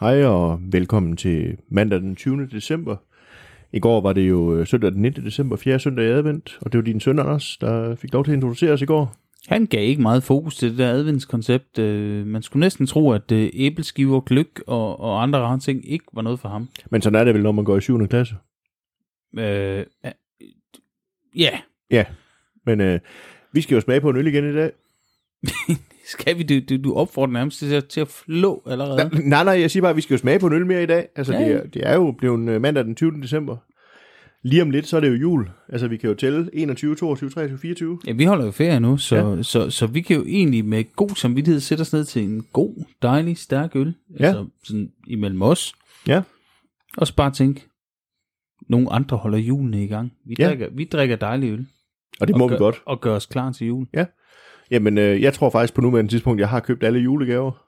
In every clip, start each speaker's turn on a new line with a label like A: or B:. A: Hej og velkommen til mandag den 20. december. I går var det jo øh, søndag den 19. december, 4. søndag i advent, og det var din søn, Anders, der fik lov til at introducere os i går.
B: Han gav ikke meget fokus til det der adventskoncept. Øh, man skulle næsten tro, at øh, æbleskiver, gløk og, og andre rare ting ikke var noget for ham.
A: Men sådan er det vel, når man går i 7. klasse.
B: Øh, ja. ja,
A: Ja, men øh, vi skal jo smage på en øl igen i dag.
B: skal vi? Du, du, du opfordrer nærmest til, at- til at flå allerede.
A: Nej, nej, nej, jeg siger bare, at vi skal jo smage på en øl mere i dag. Altså,
B: Ja,
A: det,
B: ja.
A: er, det er jo blevet øh, mandag den 20. december. Lige om lidt, så er det jo jul. Altså, vi kan jo tælle 21, 22, 23, 24.
B: Ja, vi holder jo ferie nu, så,
A: Ja.
B: ja. så, så, så vi kan jo egentlig med god samvittighed sætte os ned til en god, dejlig, stærk øl.
A: Ja.
B: Altså sådan imellem os.
A: Ja.
B: Og så bare tænke, nogle andre holder julene i gang. Vi,
A: Ja.
B: ja. drikker, vi drikker dejlig øl.
A: Og det
B: og
A: må
B: gør,
A: vi godt.
B: Og gør os klar til jul.
A: Jamen, øh, jeg tror faktisk på nuværende tidspunkt, jeg har købt alle julegaver.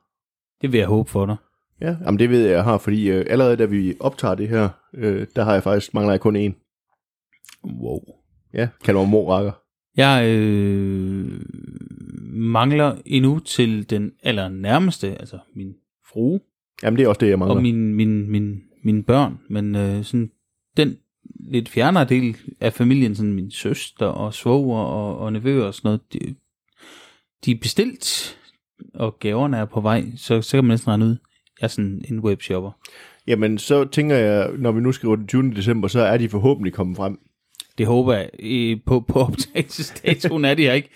B: Det vil jeg håbe for dig.
A: Ja, jamen det ved jeg, jeg har, fordi øh, allerede da vi optager det her, øh, der har jeg faktisk, mangler jeg kun én.
B: Wow.
A: Ja, kalder mig morakker.
B: Jeg øh, mangler endnu til den allernærmeste, altså min frue
A: Jamen det er også det, jeg mangler.
B: og min, min, min, mine børn, men øh, sådan den lidt fjernere del af familien, sådan min søster og svoger og, og nevøer og sådan noget, de, de er bestilt, og gaverne er på vej, så, så kan man næsten regne ud, jeg er sådan en webshopper.
A: Jamen så tænker jeg, når vi nu skriver den 20. december, så er de forhåbentlig kommet frem.
B: Det håber jeg. Øh, på, på optagelsesdatoen er det jeg ikke.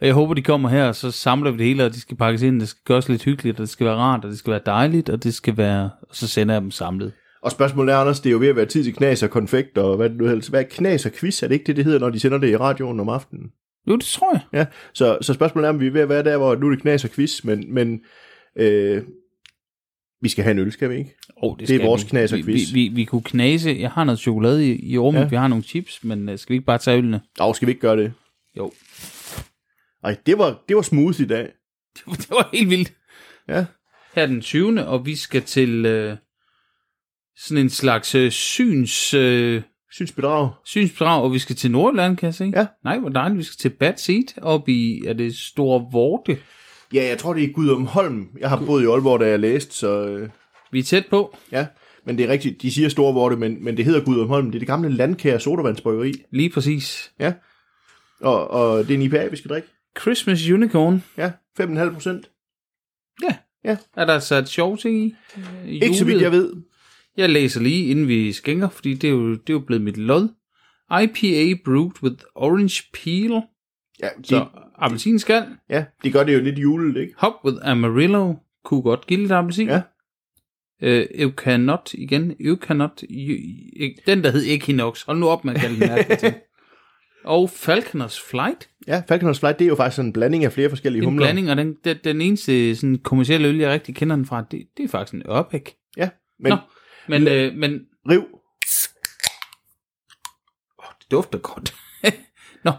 B: Og jeg håber, de kommer her, og så samler vi det hele, og de skal pakkes ind, det skal gøres lidt hyggeligt, og det skal være rart, og det skal være dejligt, og det skal være... Og så sender jeg dem samlet.
A: Og spørgsmålet er, Anders, det er jo ved at være tid til knas og konfekt og hvad det nu helst. Hvad er knas og quiz? Er det ikke det, det hedder, når de sender det i radioen om aftenen?
B: Jo, det tror jeg.
A: Ja, så, så spørgsmålet er, om vi er ved at være der, hvor nu er det knas og quiz, men, men øh, vi skal have en øl, skal vi ikke?
B: Oh, det,
A: Det er
B: skal
A: vores
B: vi.
A: knas og
B: Vi-
A: quiz.
B: Vi, vi, vi, kunne knase. Jeg har noget chokolade i, i rummet,
A: Ja.
B: ja. vi har nogle chips, men øh, skal vi ikke bare tage ølene?
A: Og skal vi ikke gøre det?
B: Jo.
A: Ej, det var, det var smooth i dag.
B: Det var, det var helt vildt.
A: Ja.
B: Her er den 20. og vi skal til øh, sådan en slags øh, syns... Øh,
A: Synsbedrag.
B: synsbedrag, og vi skal til Nordland, kan jeg se.
A: Ja.
B: Nej, hvor dejligt. Vi skal til Bad Seat op i, er det Store Vorte?
A: Ja, jeg tror, det er Gudum Holm. Jeg har boet i Aalborg, da jeg læste, så øh,
B: Vi er tæt på.
A: ja. Men det er rigtigt, de siger Storvorte, men, men det hedder Gudum Holm. Det er det gamle landkære sodavandsbryggeri.
B: Lige præcis.
A: Ja. Og, og det er en IPA, vi skal drikke.
B: Christmas Unicorn.
A: Ja, 5,5 procent.
B: Ja.
A: Ja.
B: Er der sat sjov ting i? Øh,
A: Ikke så
B: julet?
A: vidt jeg ved.
B: Jeg læser lige, inden vi skænker, fordi det er jo, det er jo blevet mit lod. IPA brewed with orange peel.
A: Ja, de,
B: Så
A: så.
B: appelsinskal.
A: ja, de gør det jo lidt julet, ikke?
B: Hop with Amarillo. Kunne godt give lidt appelsin.
A: Ja.
B: Øh, Eukanot igen. Eukanot. Den, der hed Equinox. Hold nu op med at kalde den mærkelige ting. Og Falconers Flight.
A: Ja, Falconers Flight, det er jo faktisk en blanding af flere forskellige
B: En
A: humler.
B: blanding, og den, den, den eneste sådan, kommercielle øl, jeg rigtig kender den fra, det, det er faktisk en Ørbæk.
A: Ja, men
B: Nå, men, øh, men
A: riv.
B: åh, det dufter godt. Nå,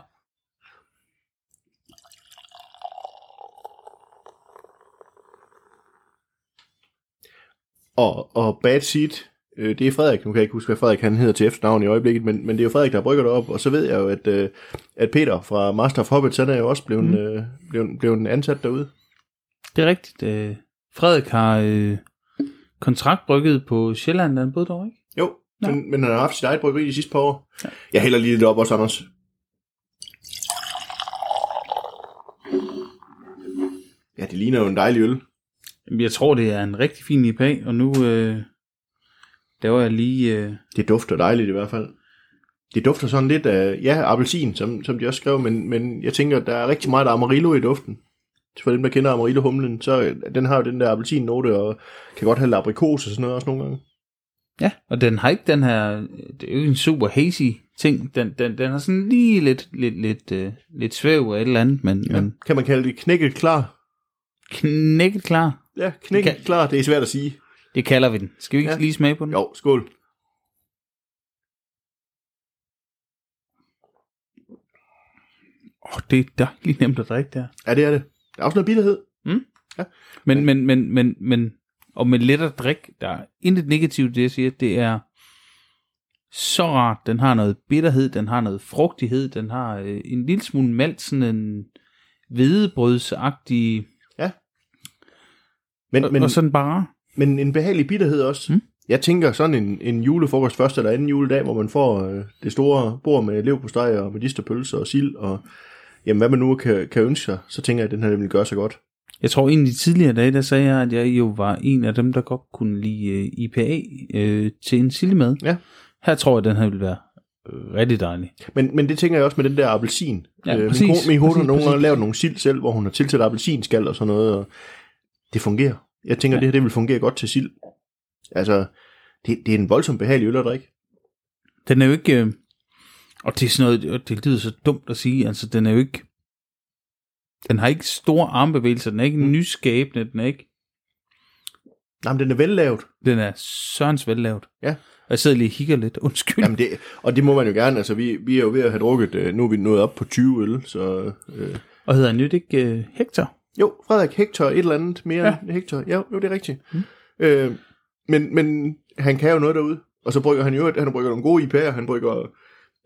A: Og, og Bad Seed, øh, det er Frederik. Nu kan jeg ikke huske, hvad Frederik han hedder til efternavn i øjeblikket, men, men det er jo Frederik, der brygger det op. Og så ved jeg jo, at, øh, at Peter fra Master of Hobbits, han er jo også blevet, mm. øh, blevet, blevet ansat derude.
B: det er rigtigt. Øh, Frederik har øh, kontraktbrygget på Sjælland, da han boede derovre, ikke?
A: Jo,
B: Nå.
A: men, men han har haft sit eget bryggeri de sidste par år. Ja. Jeg hælder lige lidt op også, Anders. Ja, det ligner jo en dejlig øl.
B: Jamen, Jeg tror, det er en rigtig fin IPA, og nu øh, laver jeg lige... Øh,
A: Det dufter dejligt i hvert fald. Det dufter sådan lidt af, ja, appelsin, som, som de også skrev, men, men jeg tænker, der er rigtig meget amarillo i duften. For dem, der kender amarillo-humlen, så øh, den har jo den der appelsinnote, og kan godt have aprikos og sådan noget også nogle gange.
B: Ja, og den har ikke den her, det er jo ikke en super hazy ting, den, den, den har sådan lige lidt, lidt, lidt, øh, lidt svæv og et eller andet, men, ja. men
A: Kan man kalde det knækket klar?
B: knækket klar,
A: Ja, knækket
B: Kan-
A: klar, det er svært at sige.
B: det kalder vi den. Skal vi ikke
A: Ja.
B: ja. lige smage på den?
A: Jo, skål.
B: Oh, det er dejligt nemt at drikke der.
A: Ja, det er det. Der er også noget bitterhed.
B: Men, men, men, men, men, og med let at drikke, der er intet negativt i det, jeg siger, det er så rart. Den har noget bitterhed, den har noget frugtighed, den har øh, en lille smule malt, sådan en hvedebrødsagtig,
A: Men,
B: og,
A: men,
B: og sådan bare.
A: Men en behagelig bitterhed også.
B: Mm.
A: Jeg tænker sådan en, en julefrokost første eller anden juledag, hvor man får øh, det store bord med leverpostej og medisterpølser og sild og jamen, hvad man nu kan, kan ønske sig, så tænker jeg, at den her vil gøre sig godt.
B: Jeg tror egentlig tidligere dage, der sagde jeg, at jeg jo var en af dem, der godt kunne lide øh, IPA øh, til en sillemad.
A: Ja.
B: Her tror jeg, at den her vil være øh, rigtig dejlig.
A: Men, men det tænker jeg også med den der appelsin.
B: Ja,
A: øh,
B: præcis,
A: min kone, min kone har
B: præcis,
A: nogle gange
B: præcis.
A: lavet nogle sild selv, hvor hun har tilsat appelsinskal og sådan noget, og det fungerer. Jeg tænker, ja. det her det vil fungere godt til sild. Altså, det, det er en voldsomt behagelig øl at drikke.
B: Den er jo ikke... Øh, og det er sådan noget, og det lyder så dumt at sige, altså den er jo ikke... Den har ikke store armbevægelser, den er ikke
A: Mm.
B: mm. nyskabende, den er ikke...
A: Nej, men den er vellavet.
B: Den er sørens vellavet.
A: Ja.
B: Og jeg sidder lige og hikker lidt, undskyld.
A: Jamen det, og det må man jo gerne. Altså, vi, vi er jo ved at have drukket, øh, nu er vi nået op på 20 øl, så... Øh,
B: Og hedder han nyt ikke øh, Hector?
A: jo, Frederik Hector, et eller andet mere ja.
B: Ja.
A: end Hector. Ja, jo, det er rigtigt. Mm. Øh, men, men han kan jo noget derude. Og så brygger han jo, han brygger nogle gode IPA'er, han brygger,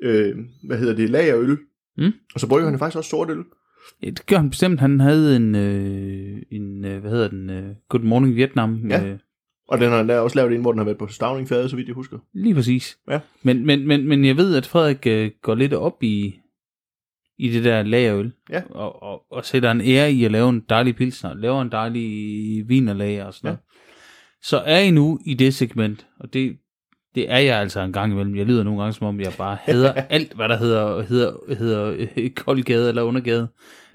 A: øh, hvad hedder det, lagerøl.
B: Mm.
A: Og så brygger han jo faktisk også sort øl.
B: Ja, det gør han bestemt. Han havde en, øh, en øh, hvad hedder den, øh, Good Morning Vietnam.
A: Ja.
B: Øh,
A: Og den har han da også lavet en, hvor den har været på stavningfade, så vidt jeg husker.
B: lige præcis.
A: Ja.
B: Men, men, men, men jeg ved, at Frederik øh, går lidt op i, i det der lagerøl.
A: Ja.
B: Og, og, og sætter en ære i at lave en dejlig pilsner, laver en dejlig vinerlager og sådan
A: Ja.
B: ja. noget. Så er I nu i det segment, og det, det er jeg altså en gang imellem. Jeg lyder nogle gange, som om jeg bare hader alt, hvad der hedder, hedder, hedder øh, koldgade eller undergade.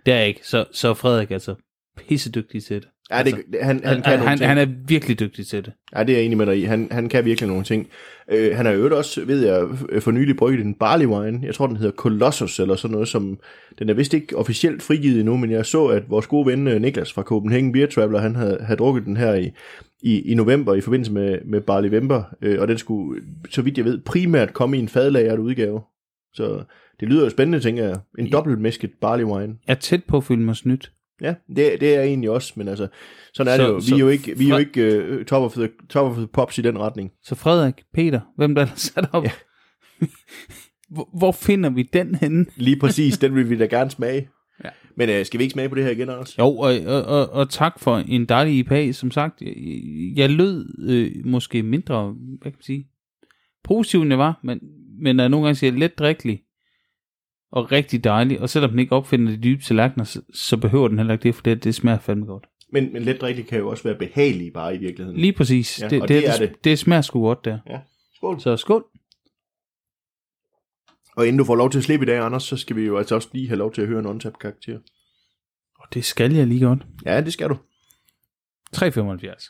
B: Det er jeg ikke. Så, så er Frederik altså pissedygtig til det.
A: Ja, det,
B: Altså,
A: det- han, han
B: Han,
A: kan
B: han,
A: nogle
B: han,
A: ting.
B: han er virkelig dygtig til det.
A: Ja, det er jeg enig med dig i. Han, han kan virkelig nogle ting. Øh, han har jo også, ved jeg, øh, for nylig brygget en barley wine. Jeg tror, den hedder Colossus eller sådan noget, som den er vist ikke officielt frigivet endnu, men jeg så, at vores gode ven øh, Niklas fra Copenhagen Beer Traveler, han havde, havde drukket den her i, i, i november i forbindelse med, med Barley Vember, øh, og den skulle, så vidt jeg ved, primært komme i en fadlageret udgave. Så det lyder jo spændende, tænker jeg. En ja. dobbeltmæsket barley wine.
B: Jeg er tæt på at føle mig snydt.
A: Ja, det, det er jeg egentlig også, men altså, sådan er
B: Så-
A: det jo. Vi
B: så
A: er jo ikke, vi er jo
B: fra-
A: ikke øh, top, of the, top of the pops i den retning.
B: Så Frederik, Peter, hvem der er sat op? Ja. hvor, hvor finder vi den henne?
A: Lige præcis, den vil vi da gerne smage. Ja.
B: Ja.
A: Men øh, skal vi ikke smage på det her igen, Anders?
B: Jo, og, og, og, og tak for en dejlig IPA. Som sagt, jeg, jeg lød øh, måske mindre, hvad kan man sige, positiv end jeg var, men, men når jeg nogle gange siger let drikkelig og rigtig dejlig, og selvom den ikke opfinder de dybe tallerkener, så, så behøver den heller ikke det, for det, det smager fandme godt.
A: Men, men let drikkelig kan jo også være behagelig bare i virkeligheden.
B: Lige præcis.
A: Ja,
B: det,
A: og
B: det,
A: det er
B: det, det smager sgu godt der.
A: Ja. Skål.
B: Så skål.
A: Og inden du får lov til at slippe i dag, Anders, så skal vi jo altså også lige have lov til at høre en untapped karakter.
B: Og det skal jeg lige godt.
A: Ja, det skal du.
B: 375.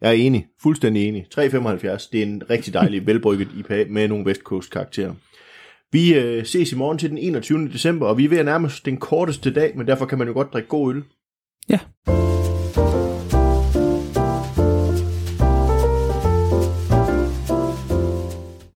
A: Jeg er enig. Fuldstændig enig. 375, det er en rigtig dejlig velbrygget IPA med nogle West Coast karakterer. Vi øh, ses i morgen til den 21. december, og vi er ved at nærme os den korteste dag, men derfor kan man jo godt drikke god øl.
B: Ja.